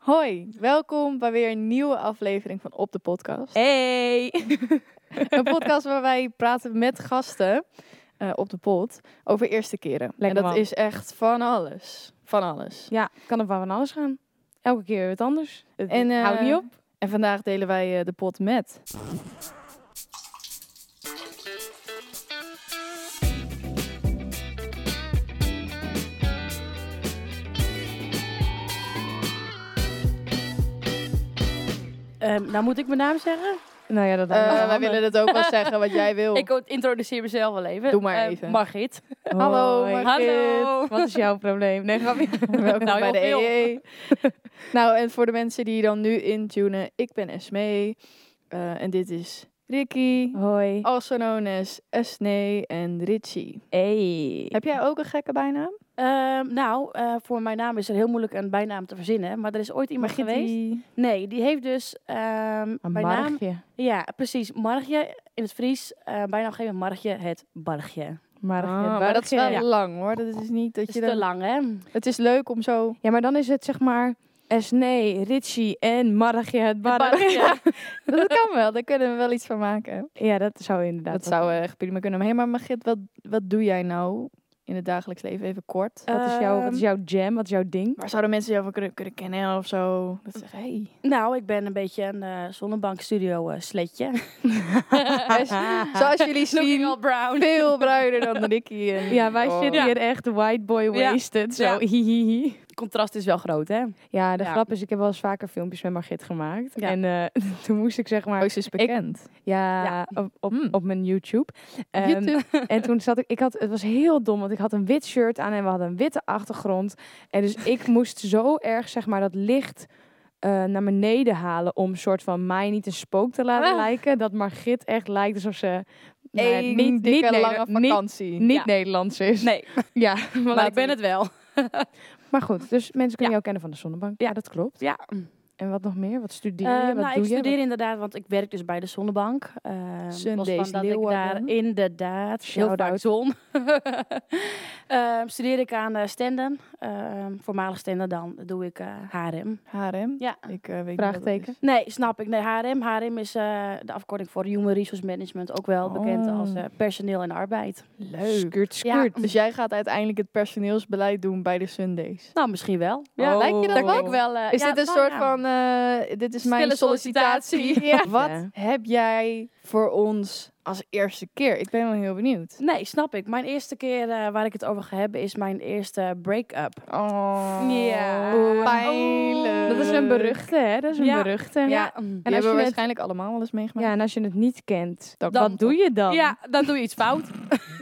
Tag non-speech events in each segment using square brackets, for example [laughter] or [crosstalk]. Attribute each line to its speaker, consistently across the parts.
Speaker 1: Hoi, welkom bij weer een nieuwe aflevering van Op de Podcast.
Speaker 2: Hey!
Speaker 1: Een podcast waar wij praten met gasten eh, op de pod over eerste keren.
Speaker 2: Lekker
Speaker 1: en dat
Speaker 2: man.
Speaker 1: is echt van alles. Van alles.
Speaker 2: Ja, kan er wel van alles gaan. Elke keer weer wat anders. Het
Speaker 1: En, eh,
Speaker 2: houdt niet op.
Speaker 1: En vandaag delen wij eh, de pot met.
Speaker 3: Ehm, nou moet ik mijn naam zeggen.
Speaker 2: Nou ja, dat
Speaker 1: Eh, wij willen het ook wel zeggen wat jij wil.
Speaker 3: [laughs] Ik introduceer mezelf wel even.
Speaker 1: Doe maar
Speaker 3: Eh,
Speaker 1: even.
Speaker 3: Margit.
Speaker 1: Hallo, Margit.
Speaker 3: Hallo.
Speaker 2: Wat is jouw probleem? Nee, grapje.
Speaker 1: [laughs]
Speaker 3: [laughs]
Speaker 1: Welkom
Speaker 3: Nou,
Speaker 1: bij de
Speaker 3: heel veel.
Speaker 1: EE. [laughs] nou, en voor de mensen die dan nu intunen, ik ben Esmee. eh, en dit is
Speaker 3: E.
Speaker 1: Ricky,
Speaker 3: Oh.
Speaker 2: Hoi.
Speaker 1: also known as Esnee en Richie.
Speaker 2: Hey.
Speaker 1: Heb jij ook een gekke bijnaam?
Speaker 3: Ehm, nou, eh, voor mijn naam is het heel moeilijk een bijnaam te verzinnen. Maar er is ooit iemand
Speaker 1: Margit
Speaker 3: geweest.
Speaker 1: die-
Speaker 3: Nee, die heeft dus ehm bij naam...
Speaker 2: Margje.
Speaker 3: Ja, precies. Margje in het Fries. eh bijnaam geven Margje het bargje.
Speaker 2: Margje.
Speaker 1: Ah, maar dat is wel
Speaker 2: Bargje.
Speaker 1: lang hoor. Dat is niet dat
Speaker 3: Dat
Speaker 1: je
Speaker 3: is te
Speaker 1: dan...
Speaker 3: lang, hè?
Speaker 1: Het is leuk om zo.
Speaker 2: Ja, maar dan is het zeg maar Esnee, Richie en Margje het barretje.
Speaker 3: Bargje.
Speaker 1: Dat kan wel. Daar kunnen we wel iets van maken.
Speaker 2: [laughs] Ja, dat zou inderdaad.
Speaker 1: Dat
Speaker 2: wel
Speaker 1: zou
Speaker 2: kunnen.
Speaker 1: echt prima kunnen. Maar, hey, maar Margit, wat, wat doe jij nou in het dagelijks leven? Even kort.
Speaker 3: Eh,
Speaker 2: Wat is, jouw, wat is
Speaker 3: Ehm,
Speaker 2: jouw jam? Wat is jouw ding?
Speaker 1: Waar zouden mensen jou van kunnen, kunnen kennen of zo? Dat zeggen, hey.
Speaker 3: Nou, ik ben een beetje een eh, zonnebankstudio eh,
Speaker 1: [laughs]
Speaker 2: [laughs]
Speaker 3: sletje.
Speaker 1: Zoals jullie
Speaker 3: Looking
Speaker 1: zien,
Speaker 3: all brown.
Speaker 1: veel bruiner dan Ricky. En...
Speaker 2: Ja, wij
Speaker 1: Oh.
Speaker 2: zitten hier echt white boy
Speaker 3: Ja.
Speaker 2: wasted. Zo,
Speaker 3: Ja.
Speaker 2: hihihi.
Speaker 3: Contrast is wel groot, hè?
Speaker 2: Ja, de
Speaker 3: Ja.
Speaker 2: grap is, ik heb wel eens vaker filmpjes met Margit gemaakt.
Speaker 3: Ja.
Speaker 2: En eh, [laughs] toen moest ik zeg maar,
Speaker 1: Oh, ze is bekend.
Speaker 2: ja,
Speaker 3: Ja.
Speaker 2: op, op,
Speaker 1: Hmm.
Speaker 2: op mijn YouTube. Ehm, En toen zat ik, ik had, het was heel dom, want ik had een wit shirt aan en we hadden een witte achtergrond. En dus ik moest zo erg zeg maar dat licht eh, naar beneden halen om soort van mij niet een spook te laten
Speaker 1: Ah.
Speaker 2: lijken. Dat Margit echt lijkt alsof ze nou,
Speaker 1: Eén dikke lange
Speaker 2: Neder- niet,
Speaker 1: vakantie.
Speaker 2: niet
Speaker 3: Ja.
Speaker 2: Nederlands is.
Speaker 3: Nee,
Speaker 2: Ja,
Speaker 3: maar ik ben het wel.
Speaker 2: Maar goed, dus mensen kunnen
Speaker 3: Ja.
Speaker 2: jou kennen van de zonnebank. Ja, dat klopt.
Speaker 3: Ja.
Speaker 2: En wat nog meer? Wat studeer je?
Speaker 3: Eh, nou,
Speaker 2: wat doe
Speaker 3: ik
Speaker 2: je? Wat-
Speaker 3: studeer inderdaad, want ik werk dus bij de zonnebank. Uh,
Speaker 1: Sundays
Speaker 3: dat ik
Speaker 1: Leeuwarden.
Speaker 3: daar inderdaad, heel vaak
Speaker 2: Shout-out.
Speaker 3: zon. [laughs] Ehm, studeer ik aan eh stenden, Ehm, voormalig stenden dan, doe ik eh, HRM.
Speaker 1: HRM.
Speaker 3: Ja.
Speaker 1: Ik eh, weet niet
Speaker 2: Vraagteken.
Speaker 1: wat
Speaker 3: Nee, snap ik. Nee, HRM. HRM is eh, de afkorting voor Human Resource Management, ook wel bekend
Speaker 1: Oh.
Speaker 3: als eh, personeel en arbeid.
Speaker 1: het is. Leuk.
Speaker 2: Skurt, skurt.
Speaker 1: Dus jij gaat uiteindelijk het personeelsbeleid doen bij de Sundays.
Speaker 3: Nou, misschien wel.
Speaker 1: Ja, lijkt je dat
Speaker 2: Oh.
Speaker 3: Dat
Speaker 1: wel?
Speaker 3: ik wel. eh,
Speaker 1: Oh. Is
Speaker 3: ja,
Speaker 1: dit een
Speaker 3: nou
Speaker 1: soort
Speaker 3: ja.
Speaker 1: van, eh, dit is mijn
Speaker 3: Stille
Speaker 1: sollicitatie.
Speaker 3: sollicitatie.
Speaker 1: Ja. Wat
Speaker 2: Ja.
Speaker 1: heb jij voor ons als eerste keer? Ik ben wel heel benieuwd.
Speaker 3: Nee, snap ik. Mijn eerste keer eh, waar ik het over ga hebben is mijn eerste break-up.
Speaker 1: Oh,
Speaker 3: Ja.
Speaker 1: pijnlijk.
Speaker 2: Dat is een beruchte, hè? Dat is een
Speaker 3: Ja.
Speaker 2: beruchte.
Speaker 3: Ja.
Speaker 1: Die
Speaker 2: En
Speaker 1: hebben
Speaker 2: als je
Speaker 1: we
Speaker 2: het-
Speaker 1: waarschijnlijk allemaal wel eens meegemaakt.
Speaker 2: Ja, en als je het niet kent,
Speaker 1: Dan-
Speaker 2: wat doe je dan?
Speaker 3: Ja, dan doe je iets fout.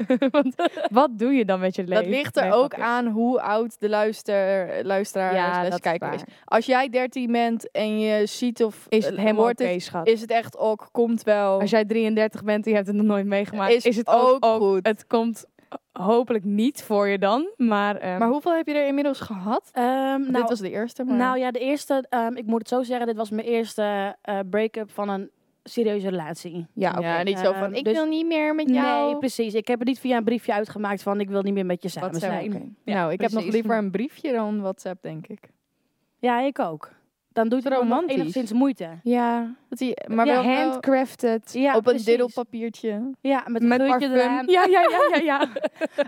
Speaker 3: [laughs]
Speaker 2: Want wat doe je dan met je leven?
Speaker 1: Dat ligt er
Speaker 2: Nee,
Speaker 1: ook
Speaker 2: grapje.
Speaker 1: aan hoe oud de luister, luisteraar
Speaker 2: Ja,
Speaker 1: slash
Speaker 2: dat is
Speaker 1: kijker
Speaker 2: waar.
Speaker 1: is. Als jij 13 bent en je ziet of
Speaker 2: Is het
Speaker 1: eh,
Speaker 2: helemaal
Speaker 1: hoort
Speaker 2: oké,
Speaker 1: het,
Speaker 2: schat?
Speaker 1: is het echt ook, komt wel.
Speaker 2: als jij 33 bent en je hebt het nog nooit meegemaakt,
Speaker 1: Is
Speaker 2: is, het ook,
Speaker 1: ook goed.
Speaker 2: Het komt hopelijk niet voor je dan, maar... ehm,
Speaker 1: Maar hoeveel heb je er inmiddels gehad?
Speaker 3: Ehm, nou,
Speaker 1: Dit was de eerste, maar...
Speaker 3: nou ja, de eerste, ehm, ik moet het zo zeggen, dit was mijn eerste eh, break-up van een serieuze relatie.
Speaker 2: ja, oké.
Speaker 1: Ja, niet zo van,
Speaker 3: Ehm,
Speaker 1: ik
Speaker 3: dus-
Speaker 1: wil niet meer met jou.
Speaker 3: Nee, precies. Ik heb het niet via een briefje uitgemaakt van ik wil niet meer met je samen
Speaker 1: WhatsApp.
Speaker 3: zijn.
Speaker 2: Oké.
Speaker 3: Ja,
Speaker 1: nou, ik heb nog
Speaker 3: precies.
Speaker 1: liever een briefje dan WhatsApp, denk ik.
Speaker 3: Ja, ik ook. Dan doet het ook nog
Speaker 1: Romantisch.
Speaker 3: enigszins moeite.
Speaker 2: Ja,
Speaker 1: Dat die, maar
Speaker 3: Ja,
Speaker 1: wel wel
Speaker 2: handcrafted.
Speaker 3: Ja,
Speaker 1: op een
Speaker 3: precies.
Speaker 1: diddelpapiertje.
Speaker 3: Ja, met,
Speaker 2: Met
Speaker 3: een
Speaker 2: parfum.
Speaker 3: geurtje eraan.
Speaker 2: Ja, ja, ja, ja,
Speaker 1: [laughs]
Speaker 2: ja.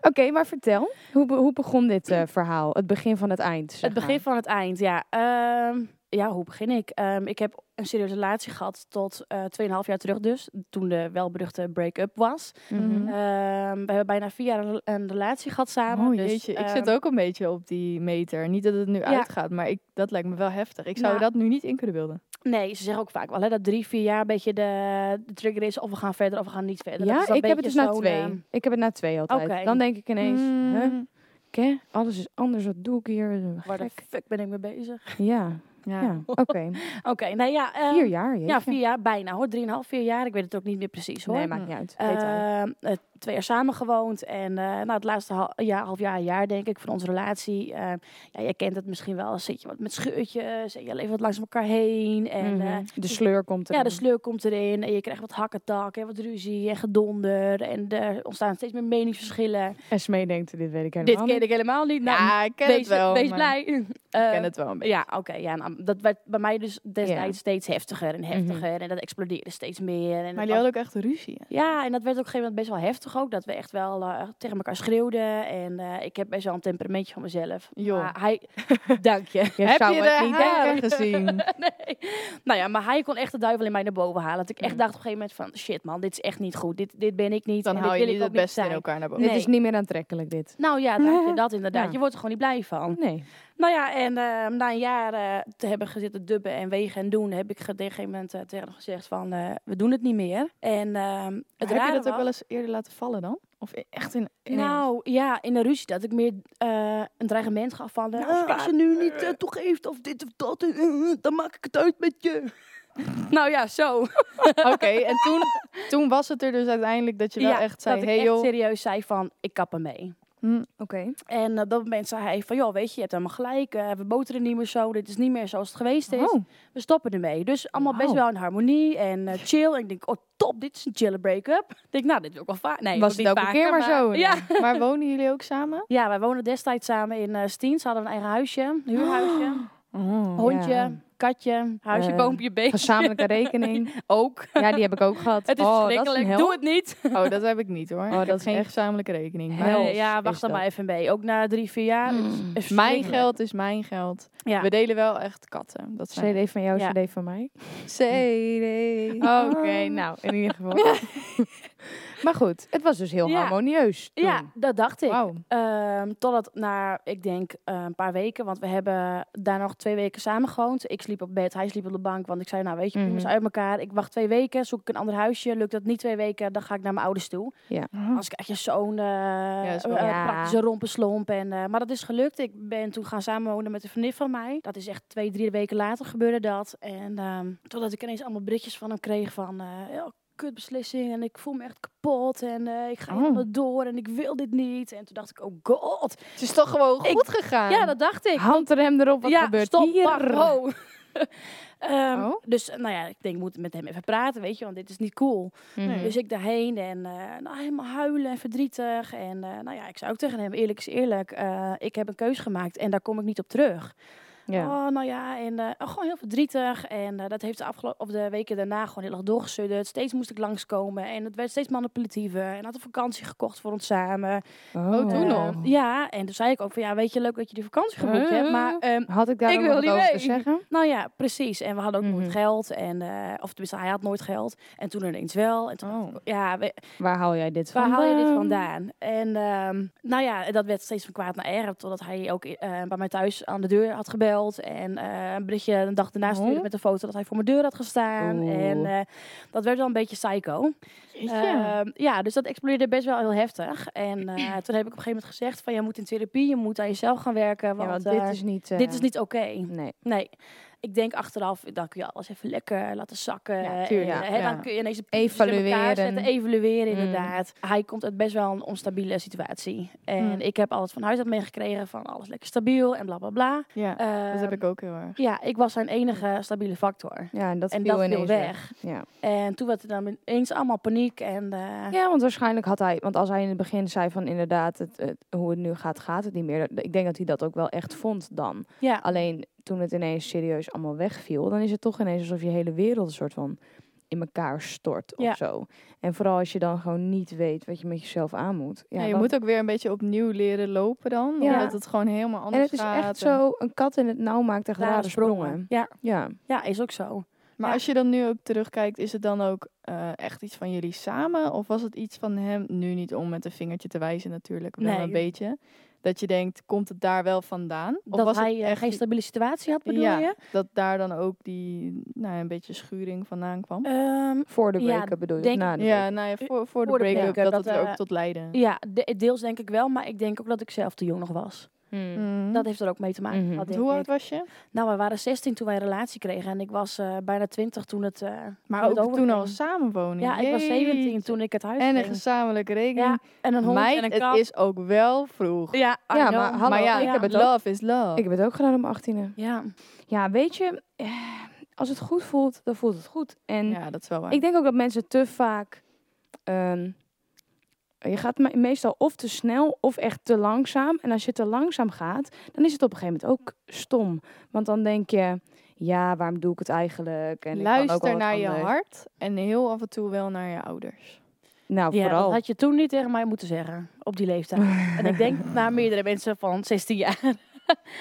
Speaker 2: Oké, maar vertel. Hoe, be- hoe begon dit eh, verhaal? Het begin van het eind. zeg
Speaker 3: Het begin van het eind, ja. Ehm, ja, hoe begin ik? Ehm, ik heb een serieuze relatie gehad tot eh 2,5 jaar terug dus. Toen de welberuchte break-up was.
Speaker 2: maar.
Speaker 1: Mhm.
Speaker 3: Ehm, we hebben bijna vier jaar een, een relatie gehad samen.
Speaker 1: Oh
Speaker 3: dus,
Speaker 1: jeetje, ik
Speaker 3: ehm,
Speaker 1: zit ook een beetje op die meter. Niet dat het nu uitgaat, maar ik, dat lijkt me wel heftig. Ik zou
Speaker 3: Nou.
Speaker 1: dat nu niet in kunnen beelden.
Speaker 3: Nee, ze zeggen ook vaak wel hè, dat drie, vier jaar een beetje de, de trigger is. Of we gaan verder of we gaan niet verder. Dat
Speaker 2: Ja,
Speaker 3: is dan
Speaker 2: ik heb het
Speaker 3: een
Speaker 2: dus
Speaker 3: beetje
Speaker 2: na
Speaker 3: zo'n,
Speaker 2: twee.
Speaker 3: ehm,
Speaker 2: Ik heb het na twee altijd.
Speaker 3: Oké. Hmm.
Speaker 2: Dan denk ik ineens,
Speaker 1: Mm.
Speaker 2: huh, oké, alles is anders, wat doe ik hier?
Speaker 3: waar de
Speaker 2: Gek.
Speaker 3: fuck ben ik mee bezig?
Speaker 2: Ja,
Speaker 1: Ja.
Speaker 2: ja, oké.
Speaker 3: [laughs] Oké, nou ja. ehm,
Speaker 2: Vier jaar, jeetje.
Speaker 3: Ja, vier jaar bijna hoor. Drieënhalf, vier jaar. Ik weet het ook niet meer precies hoor.
Speaker 2: Nee, maakt niet uit. Detail.
Speaker 3: Ehm, eh, twee jaar samen gewoond. En eh, nou, het laatste hal- jaar, half jaar, jaar denk ik, van onze relatie. eh, ja, jij kent het misschien wel. Zit je wat met scheurtjes en je leeft wat langs elkaar heen. En eh,
Speaker 2: de sleur komt er.
Speaker 3: ja, de sleur komt erin en je krijgt wat hakketak en wat ruzie en gedonder. En er ontstaan steeds meer meningsverschillen.
Speaker 2: Esmee denkt, dit weet ik helemaal
Speaker 3: Dit ken
Speaker 2: niet.
Speaker 3: ik helemaal niet. Nou,
Speaker 1: ja, ik ken
Speaker 3: wees,
Speaker 1: het wel.
Speaker 3: wees
Speaker 1: maar
Speaker 3: blij.
Speaker 1: Ik
Speaker 3: Eh,
Speaker 1: ken het wel een beetje.
Speaker 3: ja, oké. ja, nou, dat werd bij mij dus destijds
Speaker 2: Ja.
Speaker 3: steeds heftiger en heftiger. En dat explodeerde steeds meer. En
Speaker 1: Mhm.
Speaker 3: dat
Speaker 1: Maar
Speaker 3: was-
Speaker 1: die hadden ook echt ruzie. hè?
Speaker 3: ja, en dat werd op een gegeven moment best wel heftig ook. Dat we echt wel eh, tegen elkaar schreeuwden. En eh, ik heb best wel een temperamentje van mezelf.
Speaker 1: Joh.
Speaker 3: Maar
Speaker 1: [laughs]
Speaker 3: hij, dank je.
Speaker 2: Jij
Speaker 1: Heb
Speaker 2: zou
Speaker 1: je
Speaker 2: het
Speaker 1: de
Speaker 2: niet
Speaker 1: haren [laughs]
Speaker 2: denken.
Speaker 1: gezien?
Speaker 3: [laughs] nee. Nou ja, maar hij kon echt de duivel in mij naar boven halen. Dat ik echt dacht op een gegeven moment van... Shit man, dit is echt niet goed. Dit, dit ben ik niet.
Speaker 1: Mhm. Dan
Speaker 3: en
Speaker 1: hou
Speaker 3: dit
Speaker 1: je
Speaker 3: wil
Speaker 1: niet
Speaker 3: ik
Speaker 1: het
Speaker 3: ook niet
Speaker 1: beste in
Speaker 3: zijn.
Speaker 1: elkaar naar boven.
Speaker 3: Nee.
Speaker 2: Dit is niet meer aantrekkelijk, dit.
Speaker 3: Nou ja,
Speaker 1: [laughs]
Speaker 3: dank je, dat inderdaad.
Speaker 2: Ja.
Speaker 3: Je wordt er gewoon niet blij van.
Speaker 2: Nee.
Speaker 3: Nou ja, en eh, na een jaar eh, te hebben gezitten dubben en wegen en doen... heb ik ge- op een gegeven moment eh, tegen hem gezegd van... eh, we doen het niet meer. En ehm het
Speaker 1: heb je
Speaker 3: rare
Speaker 1: dat ook
Speaker 3: was-
Speaker 1: wel eens eerder laten vallen dan? Of i- echt in... in
Speaker 3: Nou ja, in de ruzie dat ik meer eh, een dreigement gaf van... eh,
Speaker 1: Nou,
Speaker 3: als ik ze nu niet eh, toegeeft of dit of dat, eh, eh, dan maak ik het uit met
Speaker 1: [laughs]
Speaker 3: je. nou ja, zo.
Speaker 1: Oké, en toen, toen was het er dus uiteindelijk dat je wel echt zei...
Speaker 3: dat ik
Speaker 1: hey,
Speaker 3: echt
Speaker 1: joh,
Speaker 3: serieus zei van, ik kap ermee.
Speaker 2: Oké.
Speaker 3: En eh, op dat moment zei hij van, joh, weet je, je hebt helemaal gelijk. eh, we boteren niet meer zo, dit is niet meer zoals het geweest is.
Speaker 2: Oh,
Speaker 3: We stoppen ermee. Dus allemaal best
Speaker 2: Wauw.
Speaker 3: wel in harmonie en eh, chill. En ik denk, oh top, dit is een chille break-up. Ik denk, nou, dit wil ik wel vaak. Nee,
Speaker 2: was het
Speaker 3: niet
Speaker 2: elke
Speaker 3: vaker,
Speaker 2: keer maar zo?
Speaker 3: Ja.
Speaker 1: maar wonen jullie ook samen?
Speaker 3: ja, wij wonen destijds samen in eh, Stiens. Hadden we een eigen huisje, een huurhuisje. Oh, Hondje,
Speaker 2: Oh. ja.
Speaker 3: katje, huisje,
Speaker 2: Eh,
Speaker 3: boompje, beest.
Speaker 2: Gezamenlijke rekening.
Speaker 3: Ook.
Speaker 2: Ja, die heb ik ook
Speaker 3: [laughs]
Speaker 2: gehad.
Speaker 3: Het is
Speaker 2: oh, dat is
Speaker 3: verschrikkelijk.
Speaker 2: een hel.
Speaker 3: Doe het niet.
Speaker 1: Oh, dat heb ik niet hoor.
Speaker 2: dat
Speaker 1: Ik heb
Speaker 2: is
Speaker 1: geen
Speaker 2: echt-
Speaker 1: gezamenlijke rekening.
Speaker 2: Hel.
Speaker 1: Mijn,
Speaker 3: Nee, Eh, ja, wacht dan
Speaker 2: dat. Mm.
Speaker 3: maar even mee. Ook na drie, vier jaar. Het is- het is
Speaker 1: mijn
Speaker 3: verschrikkelijk.
Speaker 1: geld is mijn geld.
Speaker 3: Ja.
Speaker 1: We delen wel echt katten. Dat zijn
Speaker 2: CD van jou,
Speaker 3: Ja.
Speaker 2: CD van mij.
Speaker 1: CD.
Speaker 2: Oké, nou, in ieder geval. [laughs] maar goed, het was dus heel
Speaker 3: Ja.
Speaker 2: harmonieus toen.
Speaker 3: Ja, dat dacht ik.
Speaker 2: Wauw.
Speaker 3: Ehm, totdat na, ik denk, eh, een paar weken. Want we hebben daar nog twee weken samen gewoond. Ik sliep op bed, hij sliep op de bank. Want ik zei, nou weet je, prima is
Speaker 2: Mhm.
Speaker 3: uit elkaar. Ik wacht twee weken, zoek ik een ander huisje. Lukt dat niet twee weken, dan ga ik naar mijn ouders toe. Als ik echt je zo'n eh,
Speaker 1: is wel-
Speaker 3: eh,
Speaker 2: Hm. Ja.
Speaker 3: praktische rompenslomp. En, eh, maar dat is gelukt. Ik ben toen gaan samenwonen met een vriendin van mij. Dat is echt twee, drie weken later gebeurde dat. En ehm, totdat ik ineens allemaal berichtjes van hem kreeg van... eh ja, kutbeslissing en ik voel me echt kapot. En eh, ik ga
Speaker 2: Oh.
Speaker 3: helemaal door en ik wil dit niet. En toen dacht ik, oh god.
Speaker 1: Het is toch gewoon
Speaker 3: Ik-
Speaker 1: goed gegaan?
Speaker 3: Ja, dat dacht ik.
Speaker 2: Handrem erop, wat
Speaker 3: ja,
Speaker 2: gebeurt
Speaker 3: stop,
Speaker 2: hier? [laughs]
Speaker 3: wacht, ho. [laughs] Ehm,
Speaker 2: Oh.
Speaker 3: Dus nou ja, ik denk, ik moet met hem even praten, weet je. Want dit is niet cool.
Speaker 2: Mhm.
Speaker 3: Dus ik daarheen en eh, nou, helemaal huilen en verdrietig. En eh, nou ja, ik zei ook tegen hem, eerlijk is eerlijk, eh, ik heb een keus gemaakt en daar kom ik niet op terug.
Speaker 2: ja.
Speaker 3: Oh, nou ja, en eh, oh, gewoon heel verdrietig. En eh, dat heeft de, afgelo- of de weken daarna gewoon heel erg doorgesudderd. Steeds moest ik langskomen en het werd steeds manipulatiever. En had een vakantie gekocht voor ons samen.
Speaker 1: Oh, toen
Speaker 2: Eh,
Speaker 1: nog?
Speaker 3: Ja, en toen zei ik ook van, ja, weet je, leuk dat je die vakantie geboekt hebt, maar... ehm,
Speaker 2: Had ik daar
Speaker 3: Ik
Speaker 2: ook
Speaker 3: wil
Speaker 2: nog wat
Speaker 3: niet
Speaker 2: over te
Speaker 3: mee.
Speaker 2: zeggen?
Speaker 3: nou ja, precies. En we hadden ook
Speaker 2: Mhm.
Speaker 3: nooit geld. En, eh, of tenminste, hij had nooit geld. En toen ineens wel. En toen,
Speaker 1: Oh.
Speaker 3: ja, we,
Speaker 2: Waar haal jij dit
Speaker 3: Waar
Speaker 2: vandaan?
Speaker 3: haal je dit vandaan? En ehm, nou ja, dat werd steeds van kwaad naar erger. Totdat hij ook eh, bij mij thuis aan de deur had gebeld. En eh, een berichtje een dag daarna stuurde
Speaker 2: Oh.
Speaker 3: met een foto dat hij voor mijn deur had gestaan.
Speaker 2: Oeh.
Speaker 3: En eh, dat werd wel een beetje psycho.
Speaker 1: Jeetje.
Speaker 3: Ehm, ja, dus dat explodeerde best wel heel heftig. En eh,
Speaker 2: [clears throat]
Speaker 3: toen heb ik op een gegeven moment gezegd van... Je moet in therapie, je moet aan jezelf gaan werken.
Speaker 2: Ja,
Speaker 3: Want,
Speaker 2: want
Speaker 3: eh,
Speaker 2: dit is niet... eh,
Speaker 3: dit is niet oké.
Speaker 2: Nee.
Speaker 3: Nee. Ik denk achteraf, dan kun je alles even lekker laten zakken.
Speaker 2: Ja, tuurlijk,
Speaker 3: En, eh,
Speaker 1: ja.
Speaker 3: Dan kun je ineens de puntjes in elkaar
Speaker 2: Evalueren.
Speaker 3: zetten, evalueren
Speaker 2: Mm.
Speaker 3: inderdaad. Hij komt uit best wel een onstabiele situatie. En
Speaker 1: Mm.
Speaker 3: ik heb alles van huis uit meegekregen, van alles lekker stabiel en bla bla bla.
Speaker 1: Ja, dat heb ik
Speaker 3: Ehm,
Speaker 1: ook heel erg.
Speaker 3: Ja, ik was zijn enige stabiele factor.
Speaker 2: Ja, en dat
Speaker 3: en
Speaker 2: viel
Speaker 3: dat viel
Speaker 2: ineens
Speaker 3: weg.
Speaker 2: Ja.
Speaker 3: En toen werd er dan ineens allemaal paniek en... eh,
Speaker 2: ja, want waarschijnlijk had hij... Want als hij in het begin zei van inderdaad, het, het- hoe het nu gaat, gaat het niet meer. Dat- Ik denk dat hij dat ook wel echt vond dan.
Speaker 3: ja.
Speaker 2: Alleen toen het ineens serieus allemaal wegviel, dan is het toch ineens alsof je hele wereld een soort van in elkaar stort of
Speaker 3: Ja.
Speaker 2: zo. En vooral als je dan gewoon niet weet wat je met jezelf aan moet. Ja,
Speaker 1: Ja, je
Speaker 2: dan-
Speaker 1: moet ook weer een beetje opnieuw leren lopen dan.
Speaker 2: Ja.
Speaker 1: Omdat het gewoon helemaal
Speaker 2: en
Speaker 1: anders
Speaker 2: het is
Speaker 1: gaat.
Speaker 2: echt zo, een kat in het nauw maakt echt rare sprongen.
Speaker 3: Ja,
Speaker 2: Ja.
Speaker 3: ja, is ook zo.
Speaker 1: Maar
Speaker 3: Ja.
Speaker 1: als je dan nu ook terugkijkt, is het dan ook eh, echt iets van jullie samen? Of was het iets van hem, nu niet om met een vingertje te wijzen natuurlijk, wel
Speaker 3: Nee.
Speaker 1: een beetje. Dat je denkt, komt het daar wel vandaan? Of
Speaker 3: dat
Speaker 1: was
Speaker 3: hij
Speaker 1: het
Speaker 3: eh,
Speaker 1: echt
Speaker 3: geen stabiele situatie had, bedoel
Speaker 1: Ja.
Speaker 3: je?
Speaker 1: dat daar dan ook die, nou, een beetje schuring vandaan kwam?
Speaker 3: Ehm,
Speaker 2: Voor de
Speaker 3: Ja,
Speaker 2: break-up bedoel je?
Speaker 3: denk-
Speaker 2: Na de
Speaker 1: ja, nou ja, voor, voor de
Speaker 3: voor de
Speaker 1: break-up,
Speaker 3: break-up,
Speaker 1: dat
Speaker 3: dat,
Speaker 1: het er
Speaker 3: eh,
Speaker 1: ook tot leidde.
Speaker 3: Ja, de- deels denk ik wel, maar ik denk ook dat ik zelf te jong nog was.
Speaker 2: Hmm.
Speaker 1: Mm.
Speaker 3: Dat heeft er ook mee te maken.
Speaker 2: Mhm.
Speaker 3: gehad, denk
Speaker 1: Hoe
Speaker 3: ik.
Speaker 1: oud was je?
Speaker 3: Nou, we waren 16 toen wij een relatie kregen en ik was eh, bijna 20 toen het. eh,
Speaker 1: Maar
Speaker 3: toen
Speaker 1: ook
Speaker 3: het
Speaker 1: toen
Speaker 3: overging.
Speaker 1: al samenwoning.
Speaker 3: Ja, ik was 17
Speaker 1: Jeetje.
Speaker 3: toen ik het huis
Speaker 1: En een
Speaker 3: ging.
Speaker 1: gezamenlijke
Speaker 3: Ja,
Speaker 1: rekening.
Speaker 3: en een hond
Speaker 1: Meid,
Speaker 3: en een
Speaker 1: het
Speaker 3: kat.
Speaker 1: is ook wel vroeg.
Speaker 3: Ja, I
Speaker 2: Ja,
Speaker 3: know.
Speaker 2: maar hallo,
Speaker 1: maar ja,
Speaker 3: ik heb
Speaker 2: het ook.
Speaker 1: love is love.
Speaker 2: Ik heb het ook gedaan om 18e.
Speaker 3: Ja.
Speaker 2: Ja, weet je, eh, als het goed voelt, dan voelt het goed. En
Speaker 1: ja, dat is wel waar.
Speaker 2: ik denk ook dat mensen te vaak. ehm, je gaat me- meestal of te snel of echt te langzaam. En als je te langzaam gaat, dan is het op een gegeven moment ook stom. Want dan denk je, ja, waarom doe ik het eigenlijk? En ik kan ook wel
Speaker 1: Luister
Speaker 2: wat
Speaker 1: naar je
Speaker 2: anders.
Speaker 1: hart en heel af en toe wel naar je ouders.
Speaker 2: Nou,
Speaker 3: Ja,
Speaker 2: vooral.
Speaker 3: dat had je toen niet tegen mij moeten zeggen, op die leeftijd.
Speaker 1: [laughs]
Speaker 3: en ik denk naar meerdere mensen van 16 jaar. [laughs]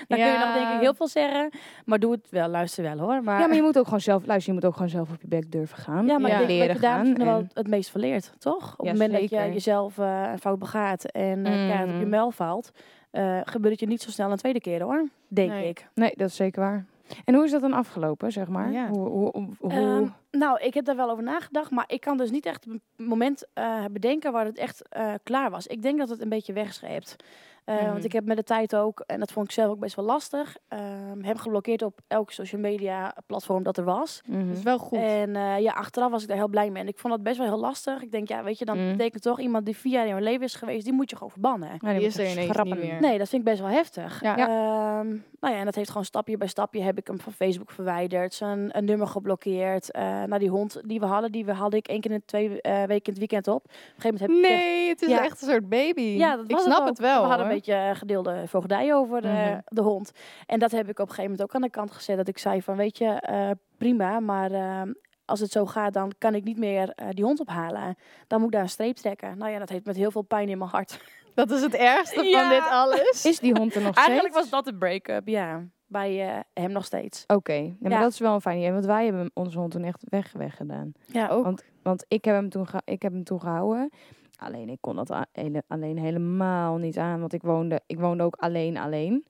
Speaker 3: Dan kun je nog denk ik heel veel zeggen, maar doe het wel, luister wel hoor. Maar,
Speaker 2: Ja, maar je moet ook gewoon zelf luisteren. Je moet ook gewoon zelf op je bek durven gaan.
Speaker 3: Ja, maar
Speaker 1: Ja.
Speaker 3: ik denk dat je daar misschien wel
Speaker 2: en-
Speaker 3: het meest van leert, toch? Op het
Speaker 2: Ja,
Speaker 3: moment dat
Speaker 2: zeker.
Speaker 3: je jezelf eh, een fout begaat en eh keihard op je
Speaker 2: Mhm.
Speaker 3: muil valt, eh, gebeurt het je niet zo snel een tweede keer hoor, denk
Speaker 1: Nee.
Speaker 3: ik.
Speaker 2: Nee, dat is zeker waar. En hoe is dat dan afgelopen, zeg maar?
Speaker 1: Ja.
Speaker 2: Hoe, hoe, hoe- hoe-
Speaker 3: Ehm, nou, ik heb daar wel over nagedacht, maar ik kan dus niet echt een moment eh, bedenken waar het echt eh, klaar was. Ik denk dat het een beetje wegscheept. Eh,
Speaker 1: Mhm.
Speaker 3: Want ik heb met de tijd ook, en dat vond ik zelf ook best wel lastig, ehm, hem geblokkeerd op elk social media platform dat er was.
Speaker 2: mhm.
Speaker 1: Dat is dus wel goed.
Speaker 3: En eh, ja, achteraf was ik daar heel blij mee. En ik vond dat best wel heel lastig. Ik denk, ja, weet je, dan
Speaker 2: Mhm.
Speaker 1: Mm.
Speaker 3: betekent toch iemand die vier jaar in jouw leven is geweest, die moet je gewoon verbannen.
Speaker 2: Ja,
Speaker 1: die
Speaker 2: moet
Speaker 1: is
Speaker 2: je
Speaker 1: er ineens
Speaker 2: schrappen.
Speaker 1: niet meer.
Speaker 3: Nee, dat vind ik best wel heftig.
Speaker 1: Ja.
Speaker 3: Ehm, nou ja, en dat heeft gewoon stapje bij stapje heb ik hem van Facebook verwijderd, zijn een nummer geblokkeerd. Eh nou, die hond die we hadden, die we had ik één keer in de twee eh, weken in het weekend op. Op een gegeven moment heb ik gezegd,
Speaker 1: Nee, het is
Speaker 3: Ja.
Speaker 1: echt een soort baby.
Speaker 3: Ja, dat
Speaker 1: ik
Speaker 3: was
Speaker 1: snap
Speaker 3: ook.
Speaker 1: het wel.
Speaker 3: we hadden een
Speaker 1: hoor.
Speaker 3: beetje eh, gedeelde voogdij over de,
Speaker 2: Mhm.
Speaker 3: de hond. En dat heb ik op een gegeven moment ook aan de kant gezet. Dat ik zei van, weet je, eh, prima, maar ehm, als het zo gaat, dan kan ik niet meer eh, die hond ophalen. Dan moet ik daar een streep trekken. Nou ja, dat heeft met heel veel pijn in mijn hart.
Speaker 1: Dat is het ergste
Speaker 3: Ja.
Speaker 1: van dit alles.
Speaker 2: Is die hond er nog
Speaker 3: [laughs]
Speaker 2: steeds?
Speaker 3: Eigenlijk was dat een break-up, ja. Bij eh, hem nog steeds.
Speaker 2: Oké, nee, maar
Speaker 3: Ja.
Speaker 2: dat is wel een fijn idee, want wij hebben hem- onze hond toen echt weg, weggedaan.
Speaker 3: Ja,
Speaker 1: ook.
Speaker 2: Want ik heb, hem toen geha- ik heb hem toen gehouden, alleen ik kon dat a- hele- alleen helemaal niet aan, want ik woonde, ik woonde ook alleen alleen.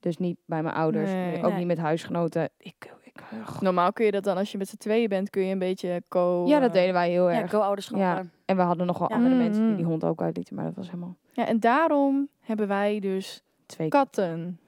Speaker 2: Dus niet bij mijn ouders,
Speaker 1: Nee.
Speaker 2: ook
Speaker 3: Nee.
Speaker 2: niet met huisgenoten. Ik, ik, ugh.
Speaker 1: Normaal kun je dat dan, als je met z'n tweeën bent, kun je een beetje co...
Speaker 2: ja,
Speaker 1: eh,
Speaker 2: dat deden wij heel
Speaker 3: Ja,
Speaker 2: erg.
Speaker 3: co-ouderschap.
Speaker 2: Ja.
Speaker 3: eh,
Speaker 2: En we hadden nog wel
Speaker 3: Ja.
Speaker 2: andere
Speaker 1: Mm,
Speaker 2: mensen die die
Speaker 1: mm.
Speaker 2: hond ook uitlieten, maar dat was helemaal
Speaker 1: Ja, en daarom hebben wij dus
Speaker 2: twee keer.
Speaker 1: katten.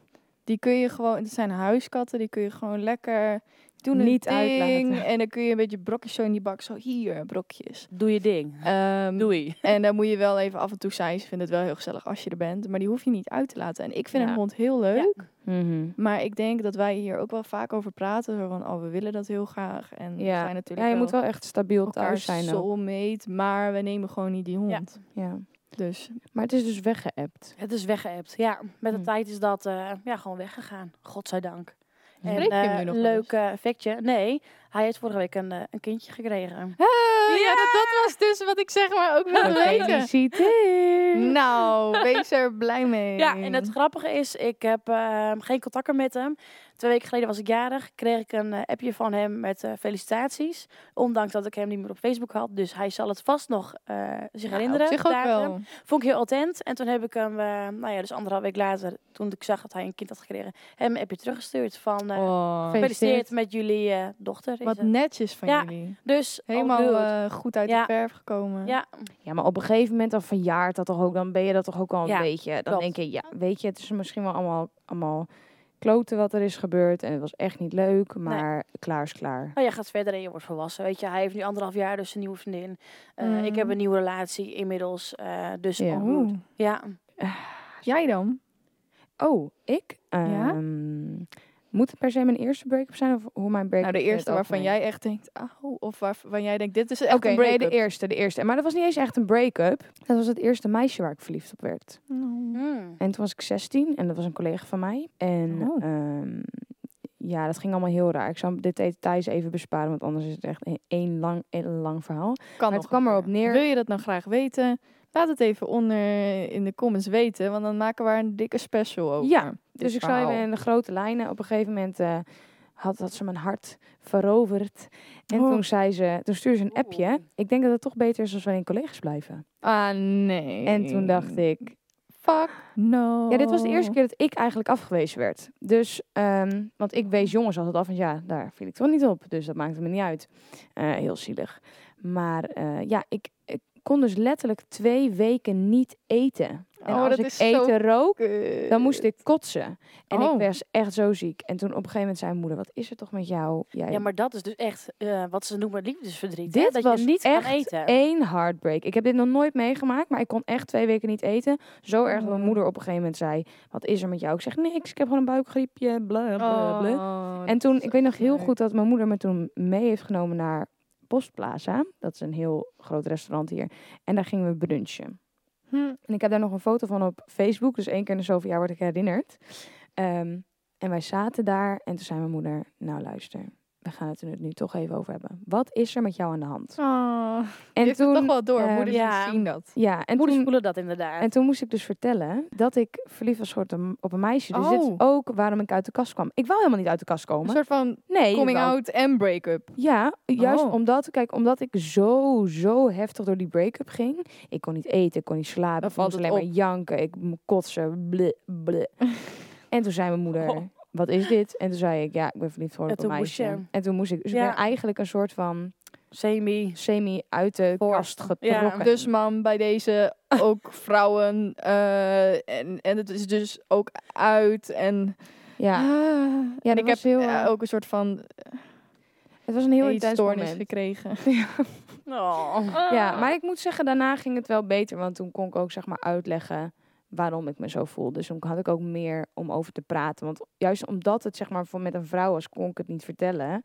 Speaker 1: Die kun je gewoon, het zijn huiskatten, die kun je gewoon lekker doen hun
Speaker 2: Niet
Speaker 1: ding.
Speaker 2: uitlaten.
Speaker 1: En dan kun je een beetje brokjes zo in die bak, zo hier, brokjes.
Speaker 3: Doe je ding.
Speaker 1: Ehm,
Speaker 3: Doei.
Speaker 1: en daar moet je wel even af en toe zijn. Ze vinden het wel heel gezellig als je er bent, maar die hoef je niet uit te laten. En ik vind
Speaker 2: Ja.
Speaker 1: een hond heel leuk.
Speaker 3: Ja.
Speaker 2: Mhm.
Speaker 1: Maar ik denk dat wij hier ook wel vaak over praten. Zo van, oh, we willen dat heel graag. En we
Speaker 2: Ja.
Speaker 1: zijn natuurlijk
Speaker 2: Ja, je moet wel echt stabiel
Speaker 1: elkaar
Speaker 2: thuis zijn. ook.
Speaker 1: soulmate, maar we nemen gewoon niet die hond.
Speaker 2: Ja.
Speaker 1: Dus
Speaker 2: Maar het is dus weggeëpt.
Speaker 3: Het is weggeëpt. Ja, met de
Speaker 1: Hm.
Speaker 3: tijd is dat eh, ja, gewoon weggegaan. Godzijdank. En,
Speaker 1: Spreek je hem
Speaker 3: eh,
Speaker 1: nu nog wel
Speaker 3: Leuk eh, factje. Nee, hij heeft vorige week een, eh, een kindje gekregen.
Speaker 1: Eh, ja, dat, dat was dus wat ik zeg maar ook wilde weten.
Speaker 2: Gefeliciteerd.
Speaker 1: Nou, wees er blij mee. Nou,
Speaker 3: Ja, en het grappige is, ik heb eh, geen contact meer met hem. Twee weken geleden was ik jarig, kreeg ik een eh, appje van hem met eh, felicitaties. Ondanks dat ik hem niet meer op Facebook had. Dus hij zal het vast nog eh, zich
Speaker 1: Nou,
Speaker 3: herinneren.
Speaker 1: op zich ook
Speaker 3: datum.
Speaker 1: wel.
Speaker 3: Vond ik heel attent. En toen heb ik hem, eh, nou ja, dus anderhalf week later, toen ik zag dat hij een kind had gekregen, hem heb je teruggestuurd van eh
Speaker 1: Oh,
Speaker 2: Feest.
Speaker 3: gefeliciteerd met jullie eh, dochter. Is
Speaker 1: wat
Speaker 3: het.
Speaker 1: netjes van
Speaker 3: Ja,
Speaker 1: jullie.
Speaker 3: Dus all
Speaker 1: Helemaal
Speaker 3: good.
Speaker 1: eh, goed uit
Speaker 3: Ja.
Speaker 1: de verf gekomen.
Speaker 3: ja,
Speaker 2: Ja, maar op een gegeven moment dan verjaart dat toch ook, dan ben je dat toch ook al een
Speaker 3: Ja,
Speaker 2: beetje. Dan
Speaker 3: klopt.
Speaker 2: denk je, ja, weet je, het is misschien wel allemaal, allemaal kloten wat er is gebeurd en het was echt niet leuk, maar klaar is klaar.
Speaker 3: nou, je gaat verder en je wordt volwassen. Weet je, hij heeft nu anderhalf jaar dus een nieuwe vriendin. Eh,
Speaker 1: Mm.
Speaker 3: Ik heb een nieuwe relatie inmiddels. eh, dus
Speaker 2: Ja.
Speaker 3: all good.
Speaker 1: Oeh.
Speaker 3: ja.
Speaker 1: Jij dan?
Speaker 2: Oh, ik?
Speaker 1: Ja?
Speaker 2: Ehm, Moet het per se mijn eerste break-up zijn of hoe mijn
Speaker 1: Nou,
Speaker 2: break-up
Speaker 1: de
Speaker 2: in het
Speaker 1: eerste waarvan
Speaker 2: algemeen?
Speaker 1: jij echt denkt, oh, of waarvan jij denkt, dit is echt
Speaker 2: Oké,
Speaker 1: een
Speaker 2: nee,
Speaker 1: break
Speaker 2: de eerste, de eerste. Maar dat was niet eens echt een break-up. Dat was het eerste meisje waar ik verliefd op werd.
Speaker 1: Mm,
Speaker 2: Mm,
Speaker 3: Hmm.
Speaker 2: En toen was ik 16 en dat was een collega van mij. En
Speaker 1: Oh.
Speaker 2: ehm, ja, dat ging allemaal heel raar. Ik zal dit details even besparen, want anders is het echt een, één lang, een lang verhaal.
Speaker 1: Kan
Speaker 2: Maar
Speaker 1: nog
Speaker 2: het kwam
Speaker 1: een
Speaker 2: erop
Speaker 1: keer.
Speaker 2: neer-
Speaker 1: Wil je dat nou graag weten? Laat het even onder in de comments weten, want dan maken we er een dikke special over.
Speaker 2: Ja,
Speaker 1: dit
Speaker 2: Dus ik zal
Speaker 1: verhaal.
Speaker 2: even in de grote lijnen. Op een gegeven moment eh, had, had ze mijn hart veroverd. En
Speaker 1: Oh.
Speaker 2: toen zei ze, toen stuurde ze een appje.
Speaker 3: Oeh.
Speaker 2: Ik denk dat het toch beter is als wij in collega's blijven.
Speaker 1: Ah, nee.
Speaker 2: En toen
Speaker 1: Mm.
Speaker 2: dacht ik,
Speaker 1: Fuck no.
Speaker 2: Ja, dit was de
Speaker 1: Oh.
Speaker 2: eerste keer dat ik eigenlijk afgewezen werd. Dus, ehm, want ik wees jongens altijd af, want ja, daar viel ik toch niet op. Dus dat maakte me niet uit. Eh, heel zielig. Maar eh, ja, ik, ik kon dus letterlijk twee weken niet eten. En
Speaker 1: Oh,
Speaker 2: als
Speaker 1: dat
Speaker 2: ik
Speaker 1: is zo
Speaker 2: eten rook,
Speaker 1: Kut.
Speaker 2: dan moest ik kotsen. En
Speaker 1: Oh.
Speaker 2: ik was echt zo ziek. En toen op een gegeven moment zei mijn moeder, wat is er toch met jou? Jij
Speaker 3: Ja, maar dat is dus echt eh, wat ze noemen liefdesverdriet. hè?
Speaker 2: Dit
Speaker 3: Dat
Speaker 2: was
Speaker 3: je niet
Speaker 2: echt
Speaker 3: kan eten.
Speaker 2: één heartbreak. Ik heb dit nog nooit meegemaakt, maar ik kon echt twee weken niet eten. Zo erg dat mijn
Speaker 1: Oh.
Speaker 2: moeder op een gegeven moment zei, wat is er met jou? Ik zeg, niks, ik heb gewoon een buikgriepje, bla bla bla.
Speaker 1: Oh,
Speaker 2: eh, En
Speaker 1: dat
Speaker 2: toen,
Speaker 1: is
Speaker 2: ik weet nog
Speaker 1: echt
Speaker 2: heel
Speaker 1: naar.
Speaker 2: goed dat mijn moeder me toen mee heeft genomen naar Postplaza. Dat is een heel groot restaurant hier. En daar gingen we brunchen.
Speaker 1: Hm.
Speaker 2: En ik heb daar nog een foto van op Facebook. Dus één keer in de zoveel jaar word ik herinnerd. Ehm, en wij zaten daar en toen zei mijn moeder... Nou luister, we gaan het er nu toch even over hebben. Wat is er met jou aan de hand?
Speaker 1: Oh,
Speaker 2: En
Speaker 1: heeft het toch wel door.
Speaker 2: ehm,
Speaker 1: Moeders
Speaker 3: ja.
Speaker 1: zien dat.
Speaker 2: ja, en
Speaker 3: Moeders
Speaker 2: toen,
Speaker 3: voelen dat inderdaad.
Speaker 2: en toen moest ik dus vertellen dat ik verliefd was geworden op een- op een meisje. Dus dit is
Speaker 1: Oh.
Speaker 2: ook waarom ik uit de kast kwam. Ik wou helemaal niet uit de kast
Speaker 1: Een
Speaker 2: komen.
Speaker 1: soort van
Speaker 2: Nee,
Speaker 1: coming
Speaker 2: wou-
Speaker 1: out en break-up.
Speaker 2: Ja, juist
Speaker 1: Oh.
Speaker 2: omdat, kijk, omdat ik zo, zo heftig door die break-up ging. Ik kon niet eten, ik kon niet slapen,
Speaker 1: Dan
Speaker 2: ik
Speaker 1: valt
Speaker 2: moest
Speaker 1: het
Speaker 2: alleen maar janken, ik mo- kotsen, bleh, bleh. en toen zei mijn moeder,
Speaker 1: Oh.
Speaker 2: wat is dit? En toen zei ik, ja, ik ben verliefd geworden op
Speaker 3: En
Speaker 2: een
Speaker 3: toen moest
Speaker 2: meisje.
Speaker 3: je.
Speaker 2: En toen moest ik, dus
Speaker 3: Ja.
Speaker 2: ik ben eigenlijk een soort van
Speaker 3: Semi.
Speaker 2: semi uit de
Speaker 3: Forced.
Speaker 2: kast getrokken.
Speaker 3: Ja.
Speaker 1: Dus man, bij deze [laughs] ook vrouwen. eh, en, en het is dus ook uit. En,
Speaker 2: ja.
Speaker 1: Ah,
Speaker 2: Ja,
Speaker 1: en
Speaker 2: dat
Speaker 1: ik heb
Speaker 2: was heel,
Speaker 1: eh,
Speaker 2: eh,
Speaker 1: ook een soort van
Speaker 2: Het was een heel intens
Speaker 1: eetstoornis
Speaker 2: moment.
Speaker 1: gekregen.
Speaker 3: Oh.
Speaker 2: [laughs]
Speaker 1: Ah.
Speaker 2: Ja, maar ik moet zeggen, daarna ging het wel beter. Want toen kon ik ook zeg maar uitleggen waarom ik me zo voel. Dus toen had ik ook meer om over te praten. Want juist omdat het zeg maar voor met een vrouw was, kon ik het niet vertellen.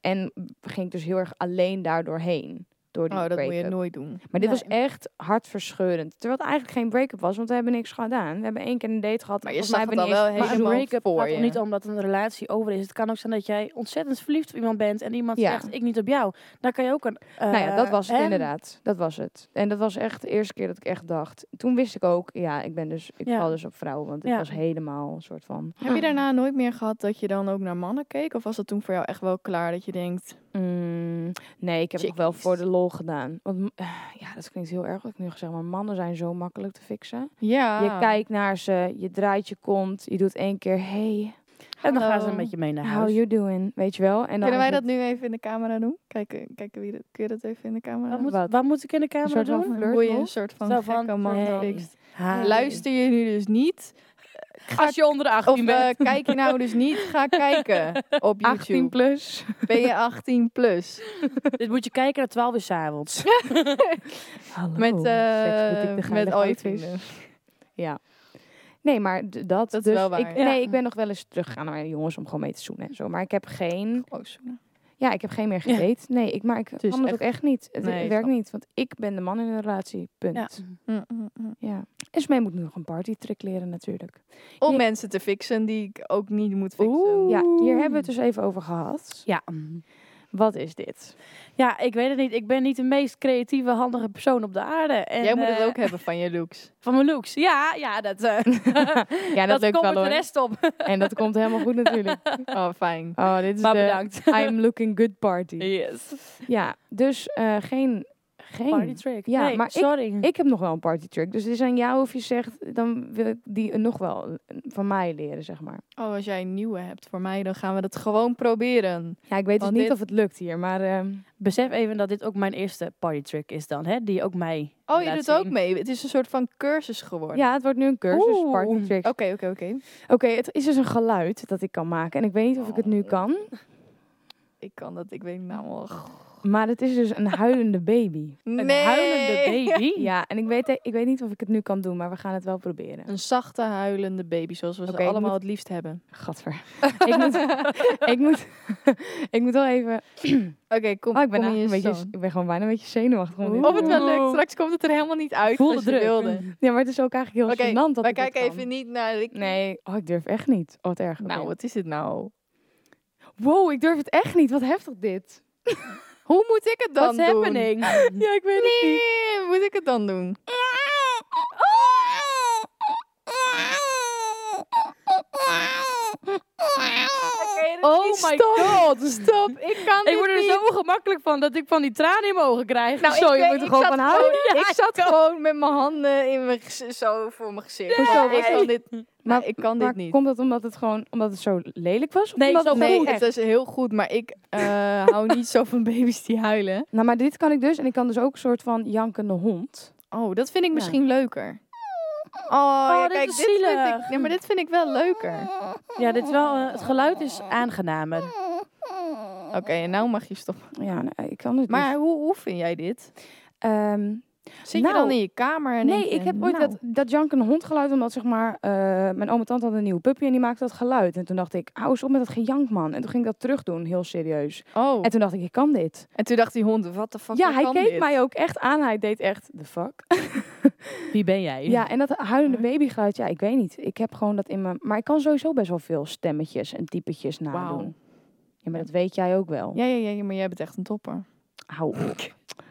Speaker 2: En ging ik dus heel erg alleen daar doorheen. Door die
Speaker 1: Oh, dat moet je
Speaker 2: break-up.
Speaker 1: nooit
Speaker 2: [laughs]
Speaker 1: doen.
Speaker 2: Maar dit was
Speaker 3: Nee.
Speaker 2: echt hartverscheurend. Terwijl het eigenlijk geen break-up was, want we hebben niks gedaan. We hebben één keer een date gehad.
Speaker 1: Maar je
Speaker 2: Volgens mij
Speaker 1: zag
Speaker 2: hebben
Speaker 1: het al
Speaker 2: we niet
Speaker 1: wel
Speaker 2: eens-
Speaker 3: Maar een
Speaker 1: helemaal
Speaker 3: break-up
Speaker 1: voor
Speaker 3: gaat
Speaker 1: je.
Speaker 3: toch niet omdat een relatie over is. Het kan ook zijn dat jij ontzettend verliefd op iemand bent en iemand
Speaker 2: Ja.
Speaker 3: zegt ik niet op jou. Dan kan je ook een. eh,
Speaker 2: nou ja, dat was het
Speaker 3: hè?
Speaker 2: inderdaad. Dat was het. En dat was echt de eerste keer dat ik echt dacht. Toen wist ik ook, ja, ik ben dus, ik
Speaker 3: Ja.
Speaker 2: val dus op vrouwen. Want ik
Speaker 3: Ja.
Speaker 2: was helemaal een soort van...
Speaker 1: Heb je daarna nooit meer gehad dat je dan ook naar mannen keek? Of was dat toen voor jou echt wel klaar dat je denkt...
Speaker 2: Mm, nee, ik heb het nog wel
Speaker 1: Chickies.
Speaker 2: voor de lol gedaan. Want m- eh, ja, dat klinkt heel erg wat ik nu gezegd, maar mannen zijn zo makkelijk te fixen.
Speaker 1: Ja.
Speaker 2: Je kijkt naar ze, je draait je kont, je doet één keer hey,
Speaker 3: En dan gaan
Speaker 1: Hallo.
Speaker 3: ze met je mee naar
Speaker 2: how
Speaker 3: huis.
Speaker 2: you doing, weet je wel? En dan
Speaker 1: dus Kunnen wij
Speaker 2: is
Speaker 1: dat
Speaker 2: het
Speaker 1: nu even in de camera doen? Kijken, kijken wie dat, kun je dat even in de camera
Speaker 3: Wat moet,
Speaker 2: Wat?
Speaker 3: wat moet ik in de
Speaker 2: een
Speaker 3: camera
Speaker 2: soort van
Speaker 3: doen?
Speaker 1: doen? Hoe je
Speaker 2: flirtmove?
Speaker 1: een soort van
Speaker 3: Zo
Speaker 1: gekke
Speaker 3: van,
Speaker 1: man
Speaker 3: hey.
Speaker 1: fixt.
Speaker 3: Hi.
Speaker 1: Luister je nu dus niet?
Speaker 3: Als je onder de
Speaker 1: Of
Speaker 3: 18
Speaker 1: eh,
Speaker 3: bent.
Speaker 1: kijk je nou dus niet? Ga [laughs] kijken op
Speaker 2: 18
Speaker 1: YouTube.
Speaker 2: plus.
Speaker 1: Ben je 18 plus?
Speaker 3: [laughs] Dit moet je kijken naar 12 uur 's avonds.
Speaker 2: Hallo,
Speaker 1: Met, eh,
Speaker 2: seks met ik de
Speaker 1: met
Speaker 2: geile
Speaker 1: al je
Speaker 2: goud is.
Speaker 1: vrienden.
Speaker 2: Nee, maar d- dat,
Speaker 1: Dat is
Speaker 2: dus
Speaker 1: wel waar.
Speaker 2: Ik,
Speaker 1: Ja.
Speaker 2: Nee, ik ben nog wel eens teruggegaan naar jongens om gewoon mee te zoenen en zo. Maar ik heb geen,
Speaker 1: Oh, zoenen.
Speaker 2: ja, ik heb geen meer
Speaker 3: Ja.
Speaker 2: gedate. Nee, ik, maar ik
Speaker 1: is
Speaker 2: kan het ook
Speaker 1: Dus echt-
Speaker 2: echt niet. Het
Speaker 1: Nee,
Speaker 2: het
Speaker 1: ik
Speaker 2: werkt
Speaker 1: snap.
Speaker 2: niet, want ik ben de man in een relatie, punt.
Speaker 3: Ja.
Speaker 1: Mm, mm, mm.
Speaker 2: Ja. En Smee moet nog een partytrick leren natuurlijk.
Speaker 1: Om
Speaker 2: Je-
Speaker 1: mensen te fixen die ik ook niet moet fixen.
Speaker 2: Ja, hier hebben we het dus even over gehad.
Speaker 3: Ja.
Speaker 2: Wat is dit?
Speaker 3: ja, ik weet het niet. Ik ben niet de meest creatieve, handige persoon op de aarde. En,
Speaker 1: Jij moet het
Speaker 3: eh,
Speaker 1: ook hebben van je [laughs] looks.
Speaker 3: Van mijn looks. Ja, ja dat, eh [laughs]
Speaker 2: Ja, dat, lukt
Speaker 3: komt er
Speaker 2: wel
Speaker 3: de
Speaker 2: hoor.
Speaker 3: rest op.
Speaker 2: En dat komt helemaal goed
Speaker 1: [laughs]
Speaker 2: natuurlijk.
Speaker 1: Oh, fijn.
Speaker 2: Oh, dit is
Speaker 3: maar
Speaker 2: de
Speaker 3: bedankt.
Speaker 2: [laughs] I'm looking good party.
Speaker 3: Yes.
Speaker 2: Ja, dus eh, geen... geen
Speaker 3: Party trick.
Speaker 2: Ja,
Speaker 3: Nee,
Speaker 2: maar
Speaker 3: sorry.
Speaker 2: Ik heb nog wel een partytrick. Dus het is aan jou of je zegt, dan wil ik die nog wel eh, van mij leren, zeg maar.
Speaker 1: Oh, als jij een nieuwe hebt voor mij, dan gaan we dat gewoon proberen.
Speaker 2: Ja, ik weet
Speaker 1: Want
Speaker 2: dus niet
Speaker 1: dit-
Speaker 2: of het lukt hier, maar... ehm,
Speaker 3: Besef even dat dit ook mijn eerste party trick is dan, hè? Die ook mij.
Speaker 1: Oh, je
Speaker 3: laat
Speaker 1: doet
Speaker 3: zien.
Speaker 1: ook mee. Het is een soort van cursus geworden.
Speaker 2: ja, het wordt nu een cursus,
Speaker 3: Oeh.
Speaker 2: partytrick.
Speaker 1: Oké, oké, oké.
Speaker 2: Oké, het is dus een geluid dat ik kan maken. En ik weet niet of ik het nu kan.
Speaker 1: Ik kan dat, ik weet namelijk.
Speaker 2: Maar het is dus [laughs] een huilende baby.
Speaker 1: Nee.
Speaker 3: Een huilende
Speaker 1: [laughs]
Speaker 3: baby.
Speaker 2: Ja, en ik weet, ik weet niet of ik het nu kan doen, maar we gaan het wel proberen.
Speaker 1: Een zachte huilende baby, zoals we
Speaker 2: Oké,
Speaker 1: ze
Speaker 2: ik
Speaker 1: allemaal
Speaker 2: moet-
Speaker 1: het liefst hebben.
Speaker 2: Gadver. [laughs] ik, moet, ik, moet, [laughs] ik moet wel even...
Speaker 1: Oké, kom,
Speaker 2: Oh, ik ben,
Speaker 1: kom in
Speaker 2: eigenlijk een
Speaker 1: je
Speaker 2: beetje,
Speaker 1: zoon.
Speaker 2: ik ben gewoon bijna een beetje zenuwachtig. om dit
Speaker 1: Of
Speaker 2: te
Speaker 1: het
Speaker 2: doen.
Speaker 1: wel lukt, straks komt het er helemaal niet uit.
Speaker 3: Voel
Speaker 1: zoals
Speaker 3: de
Speaker 1: je
Speaker 3: druk.
Speaker 1: wilde.
Speaker 2: Ja, maar het is ook eigenlijk heel
Speaker 1: Oké,
Speaker 2: gênant dat
Speaker 1: wij
Speaker 2: ik dit
Speaker 1: kijken
Speaker 2: kan.
Speaker 1: even niet naar Ricky.
Speaker 2: Nee, oh, ik durf echt niet. Oh, wat erg.
Speaker 1: Nou,
Speaker 2: Oké.
Speaker 1: wat is dit nou?
Speaker 2: Wow, ik durf het echt niet. Wat heftig dit.
Speaker 1: Hoe moet ik het dan
Speaker 3: What's
Speaker 1: doen?
Speaker 3: happening?
Speaker 2: Ja, ik weet het niet.
Speaker 1: Nee, moet ik het dan doen?
Speaker 2: Oh my
Speaker 1: god, stop. Ik kan
Speaker 2: Oh
Speaker 3: Ik word er zo ongemakkelijk van dat ik van die tranen in mijn ogen krijg.
Speaker 2: Nou,
Speaker 3: Zo,
Speaker 2: ik,
Speaker 3: je
Speaker 2: weet-
Speaker 3: moet er
Speaker 2: ik
Speaker 3: gewoon
Speaker 2: zat
Speaker 3: van houden.
Speaker 1: oh,
Speaker 2: gewoon- ik zat gewoon met mijn handen in mijn gez- zo voor mijn gezicht.
Speaker 1: Hoezo,
Speaker 2: Ja,
Speaker 1: ik
Speaker 2: echt.
Speaker 1: kan dit, maar ik kan dit
Speaker 2: Maar
Speaker 1: niet.
Speaker 2: komt dat omdat het gewoon omdat het zo lelijk was? Of
Speaker 3: Nee,
Speaker 2: omdat
Speaker 3: zo
Speaker 2: het
Speaker 1: Nee,
Speaker 2: goed-
Speaker 1: het is heel goed, maar ik eh, hou niet zo van baby's die huilen.
Speaker 2: Nou, maar dit kan ik dus. En ik kan dus ook een soort van jankende hond.
Speaker 1: Oh, dat vind ik
Speaker 2: Ja.
Speaker 1: misschien leuker. Oh,
Speaker 3: Oh,
Speaker 1: ja,
Speaker 3: dit
Speaker 1: kijk,
Speaker 3: is
Speaker 1: dit vind
Speaker 3: zielig.
Speaker 1: ik, nee, maar dit vind ik wel leuker.
Speaker 3: Ja, dit is wel, eh, het geluid is aangenamer.
Speaker 1: Oké, en nou mag je stoppen.
Speaker 2: Ja, nee, ik kan het
Speaker 1: Maar
Speaker 2: niet.
Speaker 1: hoe, hoe vind jij dit?
Speaker 2: Ehm,
Speaker 1: Zit
Speaker 2: Nou,
Speaker 1: je dan in je kamer en denk
Speaker 2: nee,
Speaker 1: je,
Speaker 3: eh,
Speaker 2: ik heb ooit
Speaker 1: nou,
Speaker 2: dat, dat jankende hond geluid. Omdat zeg maar, eh, mijn oom en tante hadden een nieuwe puppy en die maakte dat geluid. En toen dacht ik, hou eens op met dat gejank man. En toen ging ik dat terug doen, heel serieus.
Speaker 1: Oh,
Speaker 2: En toen dacht ik, ik kan dit.
Speaker 1: en toen dacht die hond, wat de fuck
Speaker 2: ja,
Speaker 1: hoe
Speaker 2: hij
Speaker 1: kan
Speaker 2: keek
Speaker 1: dit?
Speaker 2: mij ook echt aan. Hij deed echt, the fuck.
Speaker 3: Wie ben jij?
Speaker 2: Ja, en dat huilende babygeluid, ja, ik weet niet. Ik heb gewoon dat in mijn... Maar ik kan sowieso best wel veel stemmetjes en typetjes nadoen.
Speaker 1: Wauw.
Speaker 2: Ja, maar dat weet jij ook wel.
Speaker 1: Ja, ja, ja, maar jij bent echt een topper.
Speaker 2: Hou op.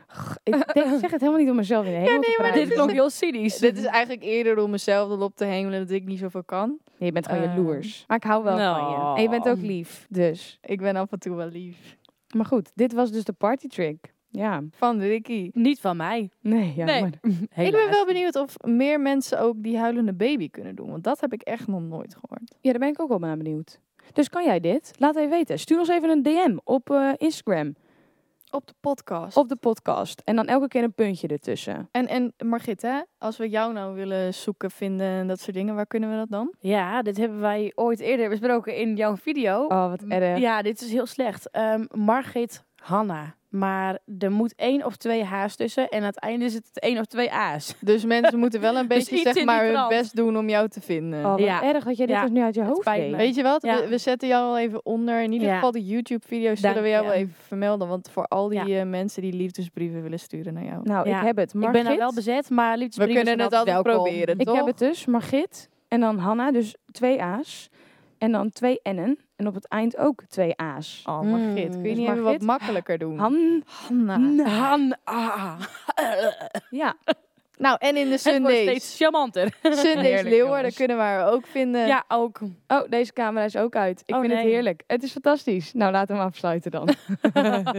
Speaker 2: G- Ik denk- ik zeg het helemaal niet om mezelf in de hemel
Speaker 1: nee,
Speaker 2: te
Speaker 1: maar
Speaker 2: prijzen.
Speaker 1: dit klonk
Speaker 3: heel cynisch.
Speaker 1: Dit is eigenlijk eerder om mezelf dan op te hemelen dat ik niet zoveel kan.
Speaker 2: Nee, je bent gewoon
Speaker 1: Eh.
Speaker 2: jaloers. Maar ik hou wel van je. En je bent ook lief, dus.
Speaker 1: Ik ben af en toe wel lief.
Speaker 2: Maar goed, dit was dus de party trick. Ja.
Speaker 1: Van Ricky.
Speaker 3: Niet van mij.
Speaker 2: Nee, ja. [laughs]
Speaker 3: Nee.
Speaker 2: maar-
Speaker 1: Ik ben wel benieuwd of meer mensen ook die huilende baby kunnen doen. Want dat heb ik echt nog nooit gehoord.
Speaker 2: Ja, daar ben ik ook wel naar benieuwd. Dus kan jij dit? Laat even weten. Stuur ons even een DM op eh, Instagram,
Speaker 1: Op de podcast.
Speaker 2: op de podcast. En dan elke keer een puntje ertussen.
Speaker 1: En, en Margit, hè? als we jou nou willen zoeken, vinden en dat soort dingen, waar kunnen we dat dan?
Speaker 3: Ja, dit hebben wij ooit eerder besproken in jouw video. Mm,
Speaker 2: Oh, wat erg.
Speaker 3: Ja, dit is heel slecht. Ehm, Margit Hanna. Maar er moet één of twee H's tussen. En aan het einde zit het één of twee A's.
Speaker 1: Dus
Speaker 3: [laughs]
Speaker 1: mensen moeten wel een
Speaker 3: Dus
Speaker 1: beetje
Speaker 3: iets in
Speaker 1: zeg
Speaker 3: die
Speaker 1: maar hun
Speaker 3: trant.
Speaker 1: best doen om jou te vinden.
Speaker 2: Oh, wat
Speaker 3: Ja.
Speaker 2: erg dat jij dit
Speaker 3: Ja.
Speaker 2: dus nu uit je hoofd
Speaker 3: spijt
Speaker 2: deed.
Speaker 3: me.
Speaker 1: Weet je wat?
Speaker 3: Ja.
Speaker 1: We, we zetten jou al even onder. In ieder
Speaker 3: Ja.
Speaker 1: geval de YouTube-video's zullen
Speaker 3: Dank
Speaker 1: we jou
Speaker 3: je.
Speaker 1: wel even vermelden. Want voor al die
Speaker 3: Ja. Mm,
Speaker 1: eh, mensen die liefdesbrieven willen sturen naar jou.
Speaker 2: Nou,
Speaker 3: Ja.
Speaker 2: ik heb het.
Speaker 3: Ik
Speaker 2: Margit,
Speaker 3: ben daar wel bezet, maar
Speaker 1: we
Speaker 3: liefdesbrieven
Speaker 1: kunnen
Speaker 3: zijn
Speaker 1: het altijd
Speaker 3: welkom.
Speaker 1: proberen,
Speaker 2: Ik
Speaker 1: toch?
Speaker 2: heb het dus, Margit en dan Hanna, dus twee A's. En dan twee N'en. En op het eind ook twee A's.
Speaker 1: Oh,
Speaker 3: Mm.
Speaker 1: Margit, kun je
Speaker 2: Dus
Speaker 1: niet even wat
Speaker 2: Margit-
Speaker 1: makkelijker doen?
Speaker 2: Han.
Speaker 3: Ah.
Speaker 1: Hanna.
Speaker 3: Hanna.
Speaker 2: Ja.
Speaker 1: Nou, en in de
Speaker 3: Het wordt
Speaker 1: Sundays.
Speaker 3: steeds [laughs] charmanter.
Speaker 1: Sundays
Speaker 3: Heerlijk,
Speaker 1: Leeuwarden
Speaker 3: jongens.
Speaker 1: kunnen we haar ook vinden.
Speaker 3: Ja, ook.
Speaker 2: Oh, deze camera is ook uit. Ik
Speaker 3: Oh,
Speaker 2: vind het
Speaker 3: nee.
Speaker 2: heerlijk. Het is fantastisch. Nou, laten we hem afsluiten
Speaker 3: [laughs]
Speaker 2: dan.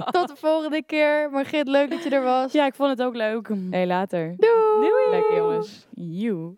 Speaker 1: Tot de volgende keer. Margit, leuk dat je er was.
Speaker 3: Ja, ik vond het ook leuk.
Speaker 2: hey, later.
Speaker 1: Doei!
Speaker 2: Leuk jongens. You.